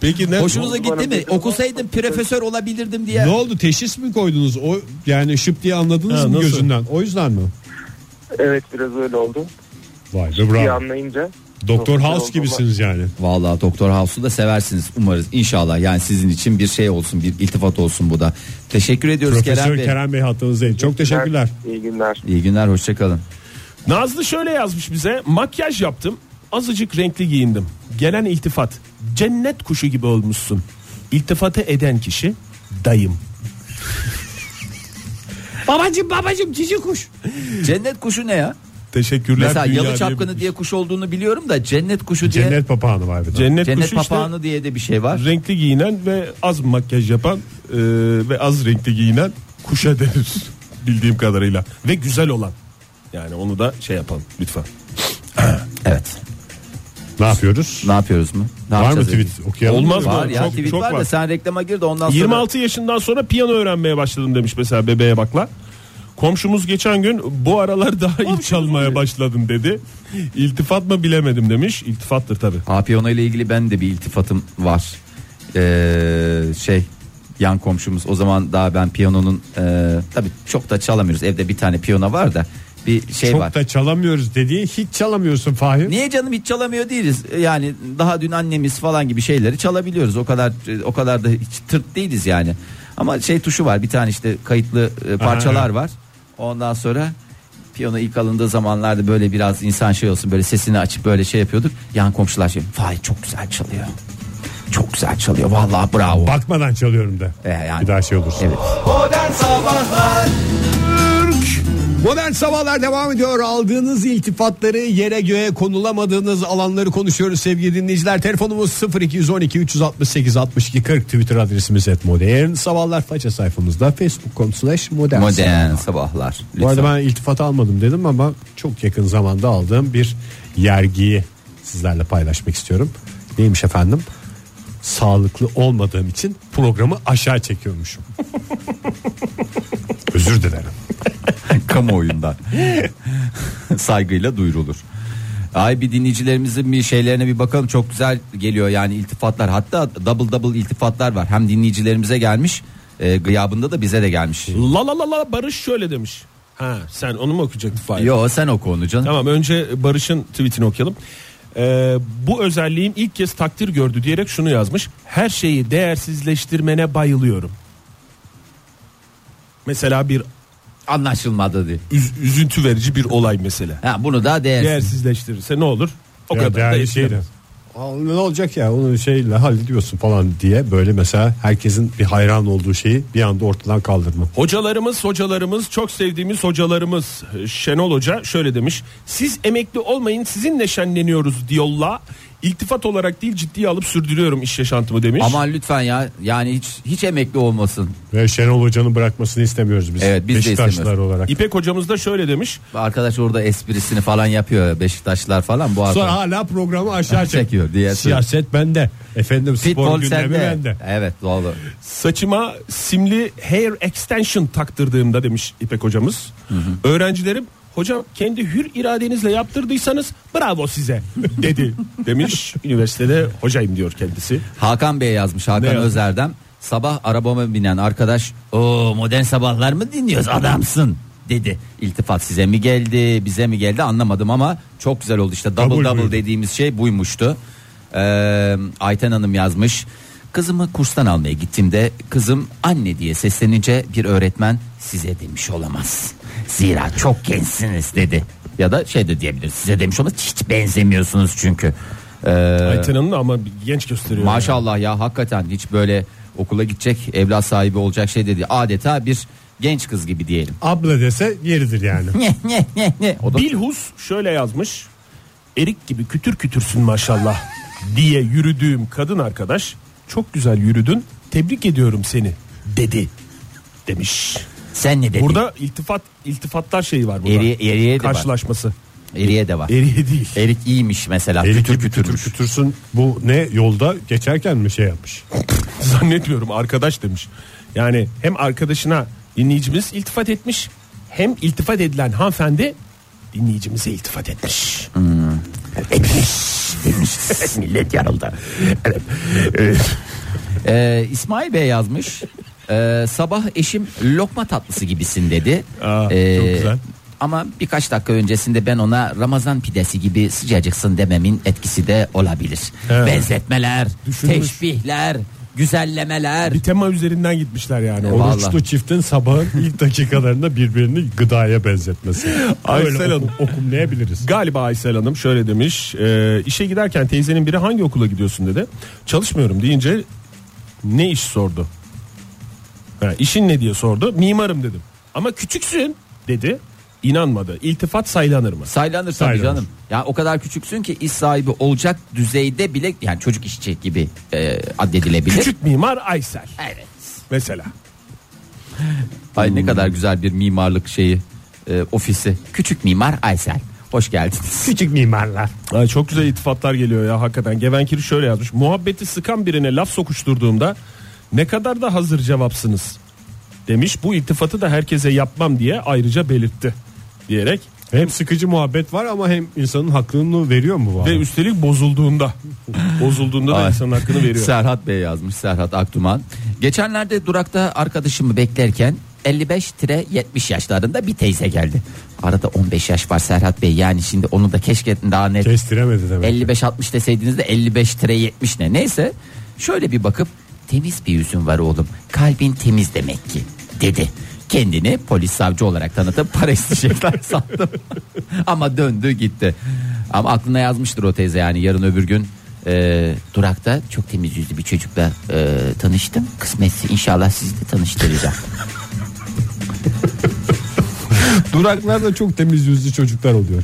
Speaker 2: Peki ne?
Speaker 3: Hoşunuza gitti
Speaker 5: Uzmanım
Speaker 3: mi?
Speaker 5: dedim ama-
Speaker 3: Okusaydım profesör olabilirdim diye.
Speaker 2: Ne oldu teşhis mi koydunuz? O yani şıp diye anladınız
Speaker 4: Ha,
Speaker 2: mı
Speaker 4: nasıl?
Speaker 2: gözünden? O yüzden mi?
Speaker 5: Evet biraz öyle oldu.
Speaker 2: Vay be
Speaker 5: Bir
Speaker 2: bravo.
Speaker 5: anlayınca.
Speaker 2: Doktor
Speaker 5: Doktor
Speaker 2: House
Speaker 5: oldum
Speaker 2: gibisiniz yani.
Speaker 3: Vallahi Doktor House'u da seversiniz umarız inşallah. Yani sizin için bir şey olsun, bir iltifat olsun bu da. Teşekkür ediyoruz
Speaker 2: Profesör
Speaker 3: Kerem Bey.
Speaker 2: Kerem Bey hattınızdayım. Çok teşekkürler.
Speaker 5: İyi günler.
Speaker 3: İyi günler, hoşçakalın.
Speaker 4: Nazlı şöyle yazmış bize. Makyaj yaptım. Azıcık renkli giyindim. Gelen iltifat. Cennet kuşu gibi olmuşsun. İltifatı eden kişi dayım.
Speaker 6: Babacım babacım cici kuş.
Speaker 3: Cennet kuşu ne ya?
Speaker 4: Teşekkürler.
Speaker 3: Mesela
Speaker 4: dünya
Speaker 3: yalı
Speaker 4: diye-
Speaker 3: çapkını diye kuş olduğunu biliyorum da cennet kuşu diye cennet,
Speaker 2: Cennet papağanı var bir de.
Speaker 4: Cennet, kuşu
Speaker 3: papağanı diye de bir şey var.
Speaker 4: işte renkli giyinen ve az makyaj yapan e, ve az renkli giyinen kuşa denir. Bildiğim kadarıyla. Ve güzel olan. Yani onu da şey yapalım lütfen.
Speaker 3: Evet.
Speaker 2: Ne yapıyoruz?
Speaker 3: Ne yapıyoruz mu? Ne
Speaker 2: Var mı
Speaker 3: yapacağız yani?
Speaker 2: tweet? Okuyalım.
Speaker 4: Olmaz mı?
Speaker 3: Var ya
Speaker 4: Çok-
Speaker 3: tweet
Speaker 4: çok
Speaker 3: var da
Speaker 4: var.
Speaker 3: sen reklama gir de ondan sonra
Speaker 4: 26 yaşından sonra piyano öğrenmeye başladım demiş mesela bebeğe bakla. Komşumuz geçen gün bu aralar daha iyi çalmaya başladın dedi. İltifat mı bilemedim demiş. İltifattır tabi.
Speaker 3: Papiyona ile ilgili ben de bir iltifatım var. Ee, şey yan komşumuz o zaman daha ben piyanonun e, tabii çok da çalamıyoruz. Evde bir tane piyano var da bir şey
Speaker 2: Çok
Speaker 3: var.
Speaker 2: da çalamıyoruz dediğin hiç çalamıyorsun Fahir.
Speaker 3: Niye canım hiç çalamıyor değiliz. E, Yani daha dün annemiz falan gibi şeyleri çalabiliyoruz. O kadar e, o kadar da hiç tırt değiliz yani. Ama şey tuşu var. Bir tane işte kayıtlı e, parçalar var. Ondan sonra piyano ilk alındığı zamanlarda böyle biraz insan şey olsun böyle sesini açıp böyle şey yapıyorduk. Yan komşular şey, "Vay çok güzel çalıyor." Çok güzel çalıyor. Vallahi bravo.
Speaker 2: Bakmadan çalıyorum da.
Speaker 3: E, yani.
Speaker 2: Bir daha şey olursa.
Speaker 3: Evet.
Speaker 2: Modern Sabahlar devam ediyor. Aldığınız iltifatları yere göğe konulamadığınız alanları konuşuyoruz sevgili dinleyiciler. Telefonumuz 0212 368 62 40 Twitter adresimiz et modern sabahlar faça sayfamızda facebook.com slash modern.
Speaker 3: Modern sabahlar.
Speaker 2: Bu arada
Speaker 3: Lütfen.
Speaker 2: ben iltifat almadım dedim ama çok yakın zamanda aldığım bir yergiyi sizlerle paylaşmak istiyorum. Neymiş efendim? Sağlıklı olmadığım için programı aşağı çekiyormuşum. Özür dilerim.
Speaker 3: kamuoyundan saygıyla duyurulur. Ay bir dinleyicilerimizin bir şeylerine bir bakalım çok güzel geliyor yani iltifatlar hatta double double iltifatlar var hem dinleyicilerimize gelmiş e, gıyabında da bize de gelmiş.
Speaker 4: La la la la Barış şöyle demiş. Ha sen onu mu okuyacaktın Fahir?
Speaker 3: Yo sen oku onu canım.
Speaker 4: Tamam önce Barış'ın tweetini okuyalım. Ee, bu özelliğim ilk kez takdir gördü diyerek şunu yazmış. Her şeyi değersizleştirmene bayılıyorum. Mesela bir
Speaker 3: Anlaşılmadı diye.
Speaker 4: üz- üzüntü verici bir olay mesela.
Speaker 3: Ha, bunu da değer.
Speaker 4: Değersizleştirirse ne olur? O
Speaker 2: Ya
Speaker 4: kadar da
Speaker 2: değerli şey
Speaker 4: etkilemez.
Speaker 2: de. Aa, Ne olacak ya onu şeyle hallediyorsun falan diye böyle mesela herkesin bir hayran olduğu şeyi bir anda ortadan kaldırma.
Speaker 4: Hocalarımız, hocalarımız, çok sevdiğimiz hocalarımız e, Şenol Hoca şöyle demiş. Siz emekli olmayın sizinle şenleniyoruz diyolla. İltifat olarak değil ciddiye alıp sürdürüyorum iş yaşantımı demiş.
Speaker 3: Aman lütfen ya yani hiç hiç emekli olmasın.
Speaker 2: Ve Şenol Hoca'nın bırakmasını istemiyoruz biz.
Speaker 3: Evet, biz de
Speaker 2: Beşiktaşlılar
Speaker 3: istemiyoruz.
Speaker 2: olarak.
Speaker 4: İpek hocamız da şöyle demiş.
Speaker 3: Arkadaş orada esprisini falan yapıyor Beşiktaşlar falan bu
Speaker 2: Sonra
Speaker 3: arada.
Speaker 2: hala programı aşağı çek.
Speaker 3: Çekiyor, diğer türlü.
Speaker 2: Siyaset bende. Efendim spor
Speaker 3: Futbol
Speaker 2: gündemi
Speaker 3: sende.
Speaker 2: bende.
Speaker 3: Evet doğru.
Speaker 4: Saçıma simli hair extension taktırdığımda demiş İpek hocamız. Öğrencilerim hocam kendi hür iradenizle yaptırdıysanız bravo size dedi demiş. Üniversitede hocayım diyor kendisi.
Speaker 3: Hakan Bey yazmış Hakan
Speaker 4: Ne yazmış?
Speaker 3: Özerdem. Sabah arabama binen arkadaş o modern sabahlar mı dinliyoruz adamsın dedi. İltifat size mi geldi bize mi geldi anlamadım ama çok güzel oldu işte double
Speaker 2: Double
Speaker 3: double
Speaker 2: buyurdu.
Speaker 3: dediğimiz şey buymuştu. Ee, Ayten Hanım yazmış kızımı kurstan almaya gittiğimde kızım anne diye seslenince bir öğretmen size demiş olamaz. Zira çok gençsiniz dedi ya da şey de diyebilir size demiş olamaz hiç benzemiyorsunuz çünkü. Ee,
Speaker 4: Ayten Hanım da ama genç gösteriyor.
Speaker 3: Maşallah ya hakikaten hiç böyle okula gidecek evlat sahibi olacak şey dedi. Adeta bir genç kız gibi diyelim.
Speaker 2: Abla dese yeridir yani.
Speaker 3: O da
Speaker 4: Bilhus şöyle yazmış. Erik gibi kütür kütürsün maşallah diye yürüdüğüm kadın arkadaş çok güzel yürüdün tebrik ediyorum seni dedi demiş.
Speaker 3: sen ne dedin?
Speaker 4: Burada iltifat iltifatlar şeyi var burada.
Speaker 3: Eriye- eriye de var.
Speaker 4: Karşılaşması.
Speaker 3: eriye de var.
Speaker 4: Eriye değil.
Speaker 3: E- Erik iyiymiş mesela.
Speaker 2: Eli
Speaker 3: kütür
Speaker 2: gibi kütür
Speaker 3: kütürmüş.
Speaker 2: kütürsün. Bu ne yolda geçerken mi şey yapmış?
Speaker 4: Zannetmiyorum arkadaş demiş. Yani hem arkadaşına dinleyicimiz iltifat etmiş hem iltifat edilen hanımefendi dinleyicimize iltifat etmiş. etmiş demiş. Millet yarıldı. Evet. Ee,
Speaker 3: Ee, İsmail Bey yazmış. Ee, sabah eşim lokma tatlısı gibisin dedi. Ee,
Speaker 4: Aa, çok güzel.
Speaker 3: Ama birkaç dakika öncesinde ben ona Ramazan pidesi gibi sıcacıksın dememin etkisi de olabilir. Benzetmeler, teşbihler, güzellemeler.
Speaker 4: bir tema üzerinden gitmişler yani.
Speaker 3: E, Vallahi.
Speaker 2: Oruçlu çiftin sabahın ilk dakikalarında birbirini gıdaya benzetmesi.
Speaker 4: Aysel
Speaker 2: Öyle
Speaker 4: Hanım.
Speaker 2: okum, okumlayabiliriz.
Speaker 4: Galiba Aysel Hanım şöyle demiş. E, işe giderken teyzenin biri hangi okula gidiyorsun dedi. Çalışmıyorum deyince ne iş sordu. Ha, işin ne diye sordu. Mimarım dedim. Ama küçüksün dedi. İnanmadı. İltifat saylanır mı?
Speaker 3: Saylanır tabii
Speaker 2: Saylanır.
Speaker 3: canım. Ya o kadar küçüksün ki iş sahibi olacak düzeyde bile yani çocuk işçi gibi e, addedilebilir.
Speaker 4: Küçük mimar Aysel
Speaker 3: Evet.
Speaker 4: mesela.
Speaker 3: Ay ne kadar güzel bir mimarlık şeyi e, ofisi. Küçük mimar Aysel. Hoş geldiniz.
Speaker 2: Küçük mimarlar.
Speaker 4: Ay çok güzel iltifatlar geliyor ya hakikaten. Gevenkiri şöyle yazmış. Muhabbeti sıkan birine laf sokuşturduğumda ne kadar da hazır cevapsınız demiş. Bu iltifatı da herkese yapmam diye ayrıca belirtti diyerek
Speaker 2: Hem sıkıcı muhabbet var ama hem insanın hakkını veriyor mu bu adam?
Speaker 4: ve üstelik bozulduğunda bozulduğunda da
Speaker 3: Ay.
Speaker 4: insanın hakkını veriyor.
Speaker 3: Serhat Bey yazmış Serhat Aktuman. Geçenlerde durakta arkadaşımı beklerken 55-70 yaşlarında bir teyze geldi. Arada 15 yaş var Serhat Bey yani şimdi onu da keşke daha net
Speaker 2: Kestiremedi demek.
Speaker 3: 55-60 deseydiniz de 55-70 ne neyse. Şöyle bir bakıp temiz bir yüzün var oğlum kalbin temiz demek ki dedi. Kendini polis savcı olarak tanıtıp para isteyecekler sandım. Ama döndü gitti. Ama aklına yazmıştır o teyze yani yarın öbür gün e, durakta çok temiz yüzlü bir çocukla e, tanıştım. Kısmetse inşallah sizi de tanıştıracağım.
Speaker 2: Duraklarda çok temiz yüzlü çocuklar oluyor.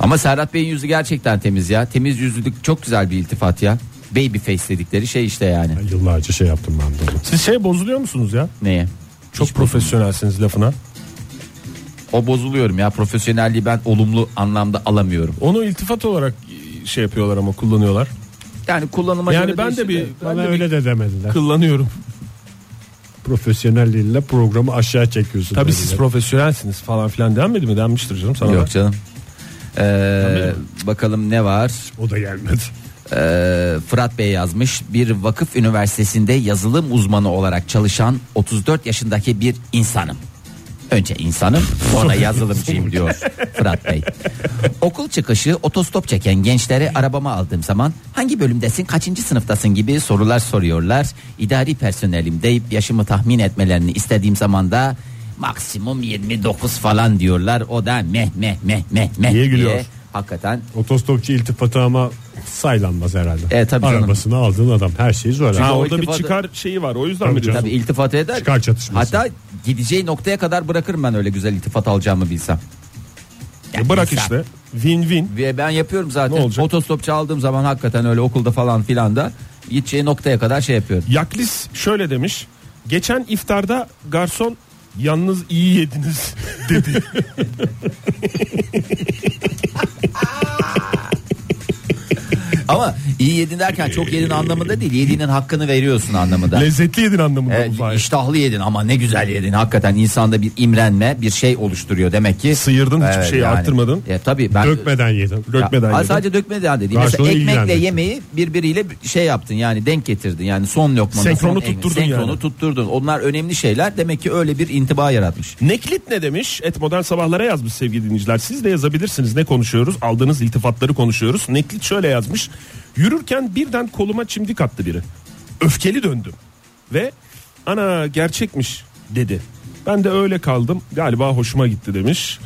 Speaker 3: Ama Serhat Bey'in yüzü gerçekten temiz ya. Temiz yüzlülük çok güzel bir iltifat ya. Baby face dedikleri şey işte yani.
Speaker 2: Ben Yıllarca şey yaptım ben de. onu.
Speaker 4: Siz şey bozuluyor musunuz ya?
Speaker 3: Neye?
Speaker 4: Çok profesyonelsiniz lafına.
Speaker 3: O bozuluyorum ya profesyonelliği ben olumlu anlamda alamıyorum.
Speaker 4: Onu iltifat olarak şey yapıyorlar ama kullanıyorlar.
Speaker 3: Yani kullanıma
Speaker 4: Yani
Speaker 3: göre
Speaker 4: ben
Speaker 3: değişir
Speaker 4: de bir ben
Speaker 2: Bana
Speaker 4: de bir
Speaker 2: öyle de demediler.
Speaker 4: kullanıyorum.
Speaker 2: Profesyonelliğiyle programı aşağı çekiyorsun.
Speaker 4: Tabii
Speaker 2: dediler.
Speaker 4: siz profesyonelsiniz falan filan denmedi mi? Denmiştir canım sana.
Speaker 3: Yok canım. Ee, bakalım ne var?
Speaker 2: O da gelmedi.
Speaker 3: Ee, Fırat Bey yazmış. Bir vakıf üniversitesinde yazılım uzmanı olarak çalışan 34 yaşındaki bir insanım. Önce insanım sonra yazılımcıyım diyor Fırat Bey. Okul çıkışı otostop çeken gençleri arabama aldığım zaman hangi bölümdesin kaçıncı sınıftasın gibi sorular soruyorlar. İdari personelim deyip yaşımı tahmin etmelerini istediğim zaman da maksimum 29 falan diyorlar. O da meh meh meh meh
Speaker 2: Niye
Speaker 3: meh diye
Speaker 2: gülüyor?
Speaker 3: hakikaten
Speaker 2: Otostopçu iltifatı ama saylanmaz herhalde.
Speaker 3: E, tabii canım.
Speaker 2: Arabasını aldığın adam her şeyi zor.
Speaker 4: Ha,
Speaker 3: o
Speaker 4: orada bir
Speaker 3: iltifat-
Speaker 4: çıkar şeyi var. O yüzden
Speaker 2: Tabii
Speaker 4: mi diyorsun?
Speaker 3: Tabii iltifat eder.
Speaker 2: Çıkar çatışması.
Speaker 3: Hatta gideceği noktaya kadar bırakırım ben öyle güzel iltifat alacağımı bilsem. Ya
Speaker 4: E, Bırak
Speaker 3: bilsem.
Speaker 4: işte. Win win.
Speaker 3: Ve ben yapıyorum zaten.
Speaker 4: Ne olacak?
Speaker 3: Otostopçu aldığım zaman hakikaten öyle okulda falan filan da gideceği noktaya kadar şey yapıyorum.
Speaker 4: Yaklis şöyle demiş. Geçen iftarda garson yalnız iyi yediniz dedi.
Speaker 3: Ama iyi yedin derken çok yedin anlamında değil. Yediğinin hakkını veriyorsun anlamında.
Speaker 4: Lezzetli yedin anlamında
Speaker 3: Evet,
Speaker 4: bu Fahir.
Speaker 3: iştahlı yedin ama ne güzel yedin. Hakikaten insanda bir imrenme, bir şey oluşturuyor demek ki.
Speaker 4: Sıyırdın, hiçbir şeyi arttırmadın.
Speaker 3: Ya, tabii ben
Speaker 2: Dökmeden yedim.
Speaker 4: Dökmeden
Speaker 3: Ha,
Speaker 4: yedin.
Speaker 3: sadece dökmeden dedi.
Speaker 2: Karşılığı
Speaker 3: Mesela ekmekle
Speaker 2: ilgilenmedi.
Speaker 3: yemeği birbiriyle bir şey yaptın yani denk getirdin. Yani son lokmanı
Speaker 4: Senkronu
Speaker 3: son ekmeği,
Speaker 4: tutturdun
Speaker 3: senkronu
Speaker 4: yani.
Speaker 3: tutturdun. Onlar önemli şeyler. Demek ki öyle bir intiba yaratmış.
Speaker 4: Neklit ne demiş? Et modern sabahlara yazmış sevgili dinleyiciler. Siz de yazabilirsiniz. Ne konuşuyoruz? Aldığınız iltifatları konuşuyoruz. Neklit şöyle yazmış. Yürürken birden koluma çimdik attı biri. Öfkeli döndüm. Ve ana gerçekmiş dedi. Ben de öyle kaldım. Galiba hoşuma gitti demiş.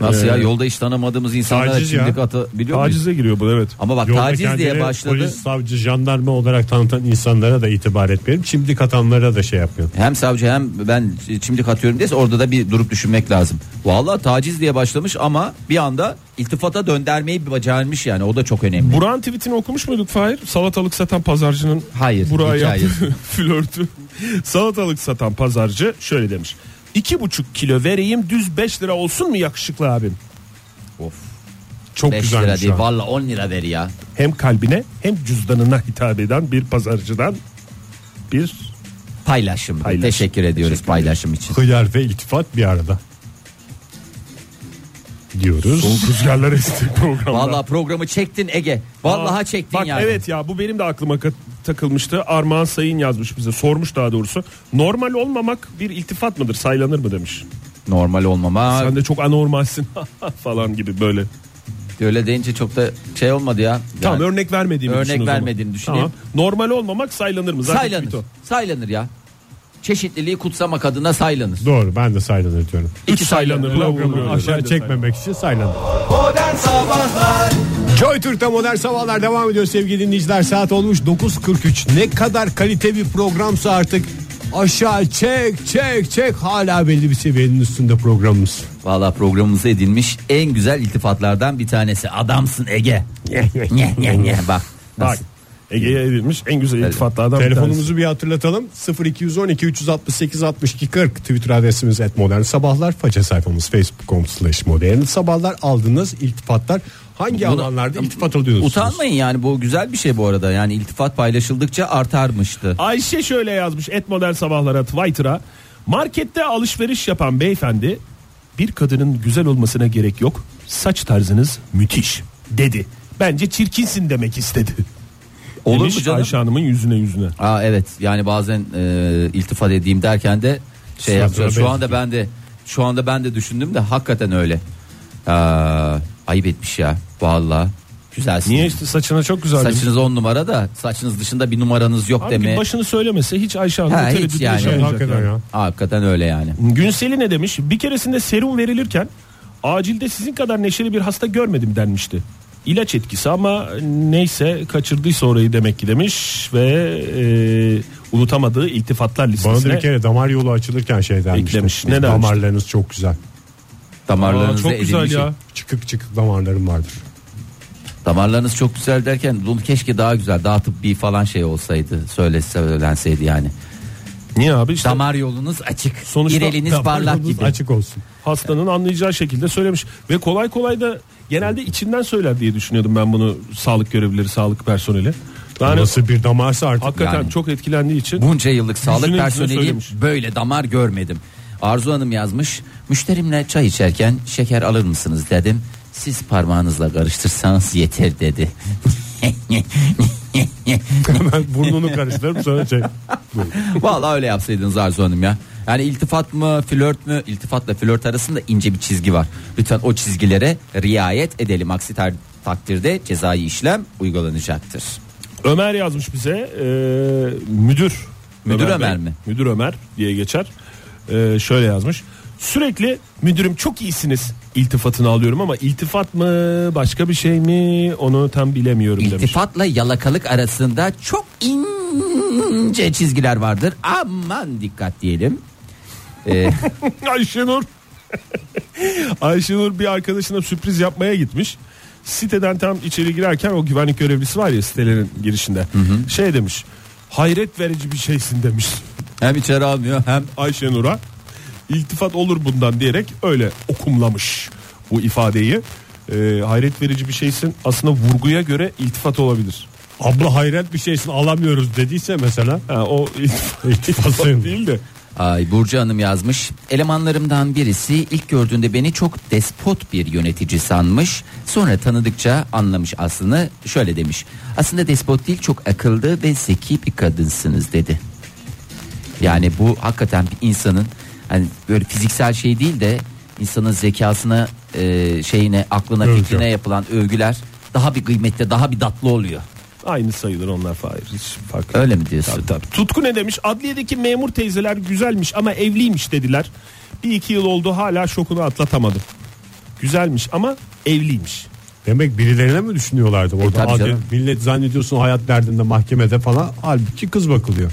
Speaker 3: Nasıl
Speaker 4: Ee,
Speaker 3: ya yolda hiç tanımadığımız insanlara
Speaker 2: taciz ya.
Speaker 3: çimdik atabiliyor muyuz?
Speaker 4: Tacize giriyor bu evet.
Speaker 3: Ama bak
Speaker 2: Yolda
Speaker 3: taciz diye
Speaker 2: kendini
Speaker 3: başladı.
Speaker 2: Polis, savcı, jandarma olarak tanıtan insanlara da itibar etmeyelim. Şimdi katanlara da şey yapmayalım.
Speaker 3: Hem savcı hem ben çimdik atıyorum diye orada da bir durup düşünmek lazım. Vallahi taciz diye başlamış ama bir anda iltifata döndermeyi bacarmış yani o da çok önemli.
Speaker 4: Burak'ın tweetini okumuş muyduk Fahir? Salatalık satan pazarcının
Speaker 3: Hayır,
Speaker 4: Burak'a
Speaker 3: hiç
Speaker 4: yaptığı flörtü. Salatalık satan pazarcı şöyle demiş. İki buçuk kilo vereyim düz 5 lira olsun mu yakışıklı abim?
Speaker 3: Of.
Speaker 4: Çok
Speaker 3: 5 lira
Speaker 4: güzelmiş
Speaker 3: değil
Speaker 4: ha.
Speaker 3: valla 10 lira ver ya.
Speaker 4: Hem kalbine hem cüzdanına hitap eden bir pazarcıdan bir
Speaker 3: Paylaşım.
Speaker 4: Paylaşım.
Speaker 3: Teşekkür ediyoruz paylaşım için.
Speaker 2: Hıyar ve iltifat bir arada. diyoruz.
Speaker 4: Rüzgarlar esti programda.
Speaker 3: Vallahi programı çektin Ege. Vallahi
Speaker 4: Aa,
Speaker 3: çektin
Speaker 4: bak,
Speaker 3: yani.
Speaker 4: Evet ya bu benim de aklıma kat- takılmıştı. Armağan Sayın yazmış bize sormuş daha doğrusu. Normal olmamak bir iltifat mıdır saylanır mı demiş.
Speaker 3: Normal olmama.
Speaker 4: Sen de çok anormalsin falan gibi böyle.
Speaker 3: Öyle deyince çok da şey olmadı ya.
Speaker 4: Tamam
Speaker 3: Yani
Speaker 4: örnek vermediğimi
Speaker 3: örnek
Speaker 4: düşün o zaman.
Speaker 3: vermediğini düşüneyim.
Speaker 4: Tamam. Normal olmamak saylanır mı? Zaten
Speaker 3: saylanır.
Speaker 4: tweet o.
Speaker 3: Saylanır ya. Çeşitliliği kutsamak adına saylanır.
Speaker 2: Doğru ben de saylanır diyorum.
Speaker 3: İki saylanır.
Speaker 4: Saylanır. Programı
Speaker 2: Aşağı çekmemek için saylanır. Joy Türk'te modern sabahlar devam ediyor sevgili dinleyiciler. Saat olmuş 9.43. Ne kadar kalite bir programsa artık aşağı çek çek çek hala belli bir seviyenin üstünde programımız.
Speaker 3: Valla programımıza edilmiş en güzel iltifatlardan bir tanesi. Adamsın Ege. Nye, nye, nye. Bak.
Speaker 4: Bak
Speaker 3: nasıl?
Speaker 4: Ege'ye edilmiş en güzel iltifatlardan bir
Speaker 2: Telefonumuzu bir hatırlatalım. 0212 368 62 40 Twitter adresimiz et modern sabahlar. Faça sayfamız facebook.com slash modern sabahlar. Aldığınız iltifatlar hangi
Speaker 3: Bunu-
Speaker 2: alanlarda iltifat alıyorsunuz?
Speaker 3: Utanmayın yani bu güzel bir şey bu arada. Yani iltifat paylaşıldıkça artarmıştı.
Speaker 4: Ayşe şöyle yazmış et model sabahlara Twitter'a. Markette alışveriş yapan beyefendi bir kadının güzel olmasına gerek yok. Saç tarzınız müthiş dedi. Bence çirkinsin demek istedi.
Speaker 3: Olur
Speaker 4: Demiş
Speaker 3: mu canım?
Speaker 4: Ayşe Hanım'ın yüzüne yüzüne.
Speaker 3: Aa evet yani bazen e, iltifat edeyim derken de şey
Speaker 2: Sıra
Speaker 3: yapacağız.
Speaker 2: sıra
Speaker 3: Şu anda ben de şu anda ben de düşündüm de hakikaten öyle. Aa, ayıp etmiş ya vallahi. Güzelsin.
Speaker 4: Niye işte saçına çok güzel demiş.
Speaker 3: Saçınız on numara da saçınız dışında bir numaranız yok
Speaker 4: Halbuki
Speaker 3: deme.
Speaker 4: başını söylemese hiç Ayşe Hanım
Speaker 3: Ha, hiç
Speaker 4: tereddüt
Speaker 3: yani.
Speaker 4: yaşamayacak
Speaker 2: Hakikaten
Speaker 4: yani.
Speaker 2: ya.
Speaker 3: Hakikaten öyle yani.
Speaker 4: Günseli ne demiş? Bir keresinde serum verilirken acilde sizin kadar neşeli bir hasta görmedim denmişti. İlaç etkisi ama neyse kaçırdıysa orayı demek ki demiş ve e, unutamadığı
Speaker 2: Bana
Speaker 4: iltifatlar
Speaker 2: da
Speaker 4: listesine.
Speaker 2: bir kere damar yolu açılırken şey denmişti.
Speaker 4: Eklemiş. Ne
Speaker 2: Biz
Speaker 4: demişti?
Speaker 2: Damarlarınız çok güzel.
Speaker 4: Aa,
Speaker 3: Damarlarınızda
Speaker 4: çok güzel
Speaker 3: edilmiş-
Speaker 4: ya.
Speaker 2: Çıkık çıkık damarlarım vardır.
Speaker 3: Damarlarınız çok güzel derken bunu keşke daha güzel daha tıbbi falan şey olsaydı söyle söylenseydi yani.
Speaker 4: Niye abi? İşte
Speaker 3: Damar yolunuz açık.
Speaker 4: Sonuçta
Speaker 3: İreliniz
Speaker 4: damar
Speaker 3: parlak
Speaker 2: Yolunuz
Speaker 3: gibi.
Speaker 2: Açık olsun.
Speaker 4: hastanın anlayacağı şekilde söylemiş ve kolay kolay da genelde içinden söyler diye düşünüyordum ben bunu sağlık görevlileri, sağlık personeli. Yani
Speaker 2: Nasıl bir damarsa artık.
Speaker 4: hakikaten
Speaker 3: Yani.
Speaker 4: çok etkilendiği için
Speaker 3: Bunca yıllık sağlık
Speaker 4: yüzüne
Speaker 3: personeliyim
Speaker 4: söylemiş.
Speaker 3: böyle damar görmedim. Arzu Hanım yazmış. Müşterimle çay içerken şeker alır mısınız dedim. Siz parmağınızla karıştırsanız yeter dedi.
Speaker 2: Hemen burnunu karıştırıp sonra şey. Buyurun.
Speaker 3: Vallahi öyle yapsaydınız Arzu Hanım ya. Yani iltifat mı flört mü iltifatla flört arasında ince bir çizgi var. Lütfen o çizgilere riayet edelim. Aksi tar- takdirde cezai işlem uygulanacaktır.
Speaker 4: Ömer yazmış bize e, müdür.
Speaker 3: Müdür
Speaker 4: Bey,
Speaker 3: Ömer mi?
Speaker 4: Müdür Ömer diye geçer. E, şöyle yazmış. Sürekli müdürüm çok iyisiniz iltifatını alıyorum ama iltifat mı başka bir şey mi onu tam bilemiyorum demiş.
Speaker 3: İltifatla yalakalık arasında çok ince çizgiler vardır. Aman dikkat diyelim. Ee,
Speaker 4: Ayşenur. Ayşenur bir arkadaşına sürpriz yapmaya gitmiş. Siteden tam içeri girerken o güvenlik görevlisi var ya sitelerin girişinde. Şey demiş. Hayret verici bir şeysin demiş
Speaker 3: hem içeri almıyor hem
Speaker 4: Ayşenur'a. İltifat olur bundan diyerek öyle okumlamış bu ifadeyi. Ee, hayret verici bir şeysin. Aslında vurguya göre iltifat olabilir.
Speaker 2: Abla hayret bir şeysin alamıyoruz dediyse mesela.
Speaker 4: Ha, o iltifat,
Speaker 2: İltifat sayılır.
Speaker 4: değil de.
Speaker 3: Ay Burcu Hanım yazmış. Elemanlarımdan birisi ilk gördüğünde beni çok despot bir yönetici sanmış. Sonra tanıdıkça anlamış aslını. Şöyle demiş. Aslında despot değil çok akıllı ve zeki bir kadınsınız dedi. Yani bu hakikaten bir insanın hani böyle fiziksel şey değil de insanın zekasına, e, şeyine, aklına,
Speaker 2: Övgü.
Speaker 3: fikrine yapılan övgüler daha bir kıymette, daha bir datlı oluyor.
Speaker 4: Aynı sayılır onlar Fahir. Hiç fark yok.
Speaker 3: Öyle mi diyorsun?
Speaker 4: Tabii, tabii. Tutku ne demiş? Adliyedeki memur teyzeler güzelmiş ama evliymiş dediler. Bir iki yıl oldu hala şokunu atlatamadım. Güzelmiş ama evliymiş.
Speaker 2: Demek birilerine mi düşünüyorlardı? Orada
Speaker 3: tabii
Speaker 2: adli-
Speaker 3: canım.
Speaker 2: millet zannediyorsun hayat derdinde mahkemede falan. Halbuki kız bakılıyor.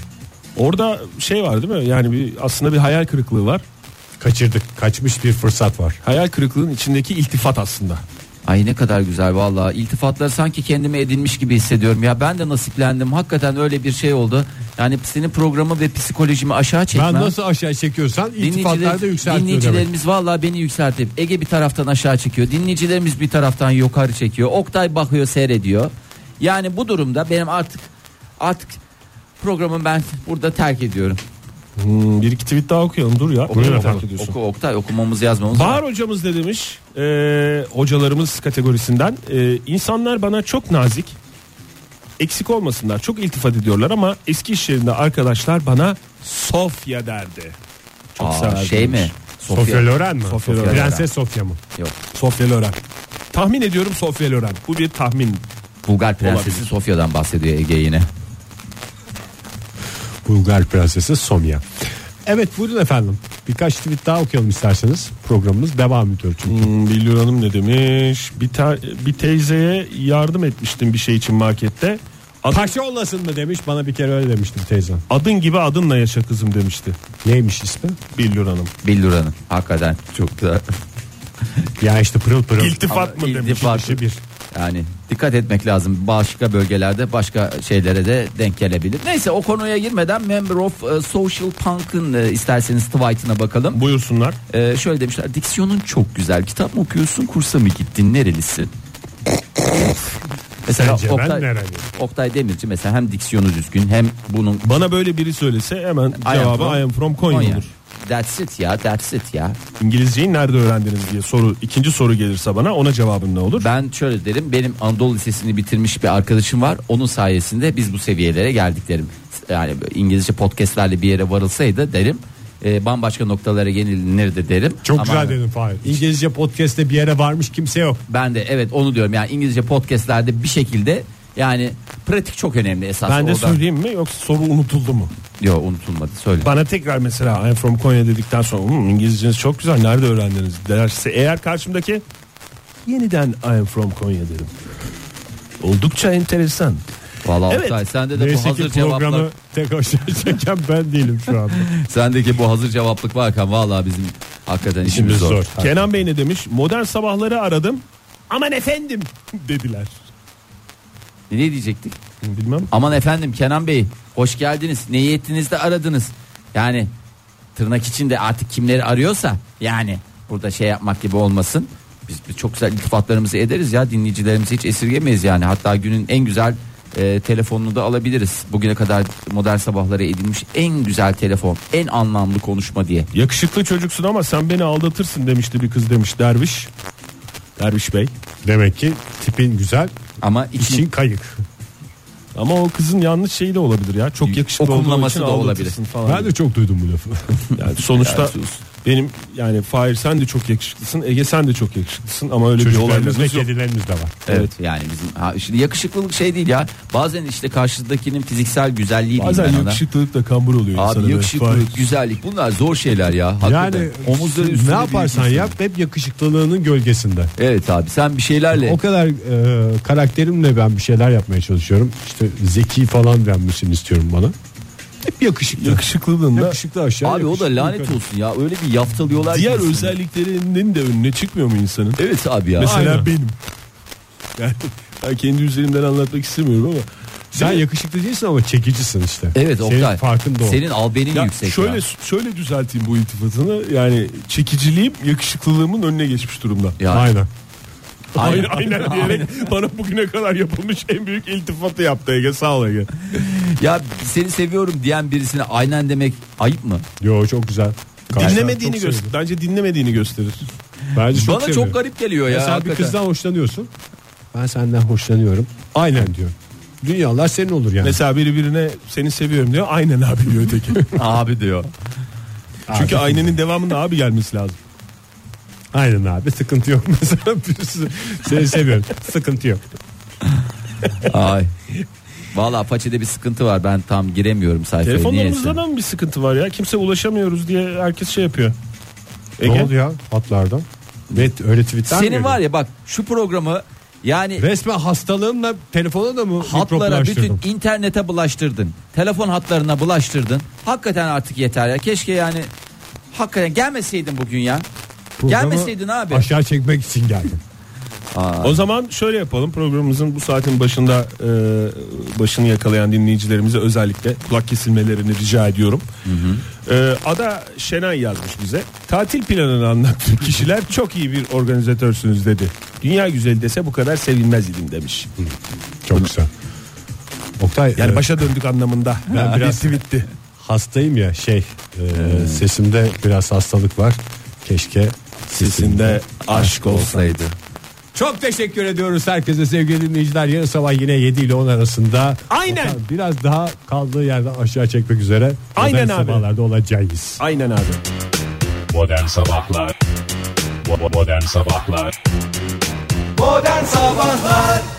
Speaker 4: Orada şey var değil mi? Yani bir, aslında bir hayal kırıklığı var.
Speaker 2: Kaçırdık. Kaçmış bir fırsat var.
Speaker 4: Hayal kırıklığın içindeki iltifat aslında.
Speaker 3: Ay ne kadar güzel vallahi iltifatları sanki kendime edinmiş gibi hissediyorum ya ben de nasiplendim hakikaten öyle bir şey oldu yani senin programı ve psikolojimi aşağı çekme
Speaker 2: Ben nasıl aşağı çekiyorsan iltifatlar da
Speaker 3: Dinleyiciler-
Speaker 2: yükseltiyor demek.
Speaker 3: dinleyicilerimiz vallahi beni yükseltip Ege bir taraftan aşağı çekiyor dinleyicilerimiz bir taraftan yukarı çekiyor Oktay bakıyor seyrediyor yani bu durumda benim artık artık programı ben burada terk ediyorum
Speaker 4: Hmm, bir iki tweet daha okuyalım dur ya. Buyurun efendim.
Speaker 3: Oku Oktay okumamız yazmamız.
Speaker 4: Bahar hocamız ne demiş? Ee, hocalarımız kategorisinden. Ee, insanlar bana çok nazik, eksik olmasınlar. Çok iltifat ediyorlar ama eski iş yerinde arkadaşlar bana Sofya derdi. Çok
Speaker 3: Aa,
Speaker 4: severdim
Speaker 3: şey
Speaker 4: demiş.
Speaker 3: mi? Sofya.
Speaker 2: Sofya Loren mi?
Speaker 4: Sofya Loren.
Speaker 2: Prenses Sofya mı?
Speaker 3: Yok.
Speaker 4: Sofya Loren. Tahmin ediyorum Sofya Loren. Bu bir tahmin.
Speaker 3: Bulgar prensesi Sofya'dan bahsediyor Ege yine.
Speaker 2: Bulgar Prensesi Somya. Evet buyurun efendim. Birkaç tweet daha okuyalım isterseniz. Programımız devam ediyor çünkü.
Speaker 4: Hmm, Bilyur Hanım ne demiş? Bir, ta- bir teyzeye yardım etmiştim bir şey için markette. Ad-
Speaker 2: Paşa olasın mı demiş bana bir kere öyle demişti bir teyzem.
Speaker 4: adın gibi adınla yaşa kızım demişti
Speaker 2: Neymiş ismi?
Speaker 4: Bilyur Hanım.
Speaker 3: Billura'nın. Hakikaten çok da
Speaker 2: Ya işte pırıl pırıl.
Speaker 4: İltifat mı demiş?
Speaker 3: İltifat.
Speaker 4: İşi bir.
Speaker 3: Yani dikkat etmek lazım. Başka bölgelerde başka şeylere de denk gelebilir. Neyse o konuya girmeden Member of e, Social Punk'ın e, isterseniz tweet'ine bakalım.
Speaker 4: Buyursunlar.
Speaker 3: E, şöyle demişler. Diksiyonun çok güzel. Kitap mı okuyorsun, kursa mı gittin, nerelisin? mesela
Speaker 2: Sence ben nereliyim?
Speaker 3: Oktay Demirci mesela hem diksiyonu düzgün hem bunun
Speaker 4: Bana böyle biri söylese hemen cevabı I am from Konya, olur.
Speaker 3: That's it ya, that's it ya.
Speaker 4: İngilizceyi nerede öğrendiniz diye soru ikinci soru gelirse bana ona cevabım ne olur?
Speaker 3: Ben şöyle derim benim Anadolu Lisesi'ni bitirmiş bir arkadaşım var. Onun sayesinde biz bu seviyelere geldik derim. Yani böyle İngilizce podcastlerle bir yere varılsaydı derim. e, bambaşka noktalara gelinirdi derim.
Speaker 2: Çok
Speaker 3: Ama
Speaker 2: güzel dedin Fahir. İngilizce podcast'te bir yere varmış kimse yok.
Speaker 3: Ben de evet onu diyorum yani İngilizce podcastlerde bir şekilde yani pratik çok önemli esas.
Speaker 4: Ben de
Speaker 3: orada.
Speaker 4: söyleyeyim mi yoksa soru unutuldu mu?
Speaker 3: Yok unutulmadı söyle.
Speaker 4: Bana tekrar mesela I am from Konya dedikten sonra "Hmm, İngilizceniz çok güzel nerede öğrendiniz derse eğer karşımdaki yeniden I am from Konya derim. Oldukça enteresan.
Speaker 3: Valla
Speaker 4: Evet.
Speaker 3: Oktay sende de bu
Speaker 2: Neyse
Speaker 3: hazır
Speaker 2: ki programı
Speaker 3: cevaplar.
Speaker 2: tek aşağı çeken ben değilim şu anda.
Speaker 3: Sendeki bu hazır cevaplık varken valla bizim hakikaten işimiz
Speaker 2: İşimiz
Speaker 3: zor.
Speaker 2: zor.
Speaker 4: Kenan Bey ne demiş? Modern sabahları aradım. Aman efendim dediler.
Speaker 3: Ne diyecektik?
Speaker 4: Bilmem.
Speaker 3: Aman efendim Kenan Bey hoş geldiniz. Neyi ettiniz de aradınız. Yani tırnak içinde artık kimleri arıyorsa yani burada şey yapmak gibi olmasın. Biz, biz çok güzel iltifatlarımızı ederiz ya dinleyicilerimizi hiç esirgemeyiz yani. Hatta günün en güzel e, telefonunu da alabiliriz. Bugüne kadar modern sabahlara edilmiş en güzel telefon, en anlamlı konuşma diye.
Speaker 4: Yakışıklı çocuksun ama sen beni aldatırsın demişti bir kız demiş derviş. Derviş Bey.
Speaker 2: Demek ki tipin güzel,
Speaker 3: Ama için,
Speaker 2: için kayık.
Speaker 4: Ama o kızın yanlış şeyi de olabilir ya. Çok yakışıklı olduğu
Speaker 3: Okumlaması
Speaker 4: için
Speaker 3: da
Speaker 4: aldatırsın falan.
Speaker 2: Ben de çok duydum bu lafı.
Speaker 4: Yani sonuçta
Speaker 3: Yani sus.
Speaker 4: benim yani Fahir sen de çok yakışıklısın. Ege sen de çok yakışıklısın ama öyle bir
Speaker 2: Çocuklarımız ve
Speaker 4: olayımız yok.
Speaker 2: kedilerimiz de var.
Speaker 3: evet, yani bizim ha, şimdi yakışıklılık şey değil ya. Bazen işte karşıdakinin fiziksel güzelliği
Speaker 4: Bazen
Speaker 3: değil ben ona.
Speaker 4: yakışıklılık da kambur oluyor insana
Speaker 3: Abi
Speaker 4: be. Fahir.
Speaker 3: yakışıklılık, güzellik bunlar zor şeyler ya. Hakikaten.
Speaker 2: Yani
Speaker 3: Omuzları
Speaker 2: ne
Speaker 3: üstüne
Speaker 2: yaparsan
Speaker 3: büyük
Speaker 2: yap hep yakışıklılığının gölgesinde.
Speaker 3: üstüne. Evet abi sen bir şeylerle.
Speaker 2: O kadar e, karakterimle ben bir şeyler yapmaya çalışıyorum. İşte zeki falan denmesini istiyorum bana. Hep yakışıklı.
Speaker 4: Yakışıklılığında
Speaker 2: Yakışıklı aşağı.
Speaker 3: abi o da
Speaker 2: yakışıklı
Speaker 3: lanet
Speaker 2: yukarı.
Speaker 3: olsun ya öyle bir yaftalıyorlar. ki
Speaker 4: diğer
Speaker 3: insanı.
Speaker 4: özelliklerinin de önüne çıkmıyor mu insanın?
Speaker 3: Evet abi ya.
Speaker 4: Mesela
Speaker 2: Aynen.
Speaker 4: benim. Yani ben kendi üzerimden anlatmak istemiyorum ama
Speaker 2: Sen yakışıklı değilsin ama çekicisin işte.
Speaker 3: Evet
Speaker 2: Senin
Speaker 3: Oktay.
Speaker 2: farkın da o.
Speaker 3: Senin albenin
Speaker 4: Ya
Speaker 3: yüksek.
Speaker 4: şöyle
Speaker 3: ya.
Speaker 4: şöyle düzelteyim bu iltifatını. Yani çekiciliğim yakışıklılığımın önüne geçmiş durumda.
Speaker 3: Ya,
Speaker 2: Aynen.
Speaker 4: Aynen, aynen diyerek bana bugüne kadar yapılmış en büyük iltifatı yaptı Ege. Sağ ol Ege.
Speaker 3: ya seni seviyorum diyen birisine aynen demek ayıp mı?
Speaker 2: Yo çok güzel. Karşılar
Speaker 4: dinlemediğini
Speaker 2: çok
Speaker 4: gösterir.
Speaker 2: sevdim.
Speaker 4: Bence dinlemediğini gösterir.
Speaker 2: Bence çok
Speaker 3: Bana
Speaker 2: seviyorum.
Speaker 3: çok garip geliyor ya.
Speaker 2: Mesela bir
Speaker 3: hakikaten.
Speaker 2: kızdan hoşlanıyorsun. Ben senden hoşlanıyorum. Aynen diyor. Dünyalar senin olur yani.
Speaker 4: Mesela biri birine seni seviyorum diyor. Aynen abi diyor öteki.
Speaker 3: abi diyor.
Speaker 4: Çünkü aynenin devamında abi gelmesi lazım.
Speaker 2: Aynen abi sıkıntı yok mesela birisi seni seviyorum sıkıntı yok.
Speaker 3: Ay. Valla paçede bir sıkıntı var ben tam giremiyorum sayfaya. niyeyse.
Speaker 4: Telefonlarımızda da mı bir sıkıntı var ya? Kimse ulaşamıyoruz diye herkes şey yapıyor.
Speaker 2: Ne
Speaker 4: Ege.
Speaker 2: oldu ya hatlardan? Net öyle tweetler
Speaker 3: Senin var ya bak şu programı yani
Speaker 2: Resmen hastalığımla telefona da mı
Speaker 3: hatlara bütün
Speaker 2: mikroplaştırdım?
Speaker 3: internete bulaştırdın. Telefon hatlarına bulaştırdın. Hakikaten artık yeter ya. Keşke yani hakikaten gelmeseydin bugün ya.
Speaker 2: Programı
Speaker 3: Gelmeseydin abi.
Speaker 2: Aşağı çekmek için geldim.
Speaker 4: O zaman şöyle yapalım programımızın bu saatin başında e, başını yakalayan dinleyicilerimize özellikle kulak kesilmelerini rica ediyorum. E, Ada Şenay yazmış bize tatil planını anlattı kişiler çok iyi bir organizatörsünüz dedi. Dünya güzeli dese bu kadar sevinmez idim demiş.
Speaker 2: Çok güzel. Oktay
Speaker 4: Yani
Speaker 2: e,
Speaker 4: başa döndük anlamında.
Speaker 2: ben biraz bitti hastayım ya şey e, sesimde biraz hastalık var. Keşke sesimde
Speaker 3: aşk olsaydı.
Speaker 2: Çok teşekkür ediyoruz herkese sevgili dinleyiciler. Yarın sabah yine 7 ile 10 arasında.
Speaker 4: Aynen.
Speaker 2: Okan Biraz daha kaldığı yerden aşağı çekmek üzere.
Speaker 4: Aynen
Speaker 2: Modern
Speaker 4: abi.
Speaker 2: Sabahlarda olacağız.
Speaker 4: Aynen abi.
Speaker 7: Modern Sabahlar Bo- bo- Modern Sabahlar
Speaker 8: Modern Sabahlar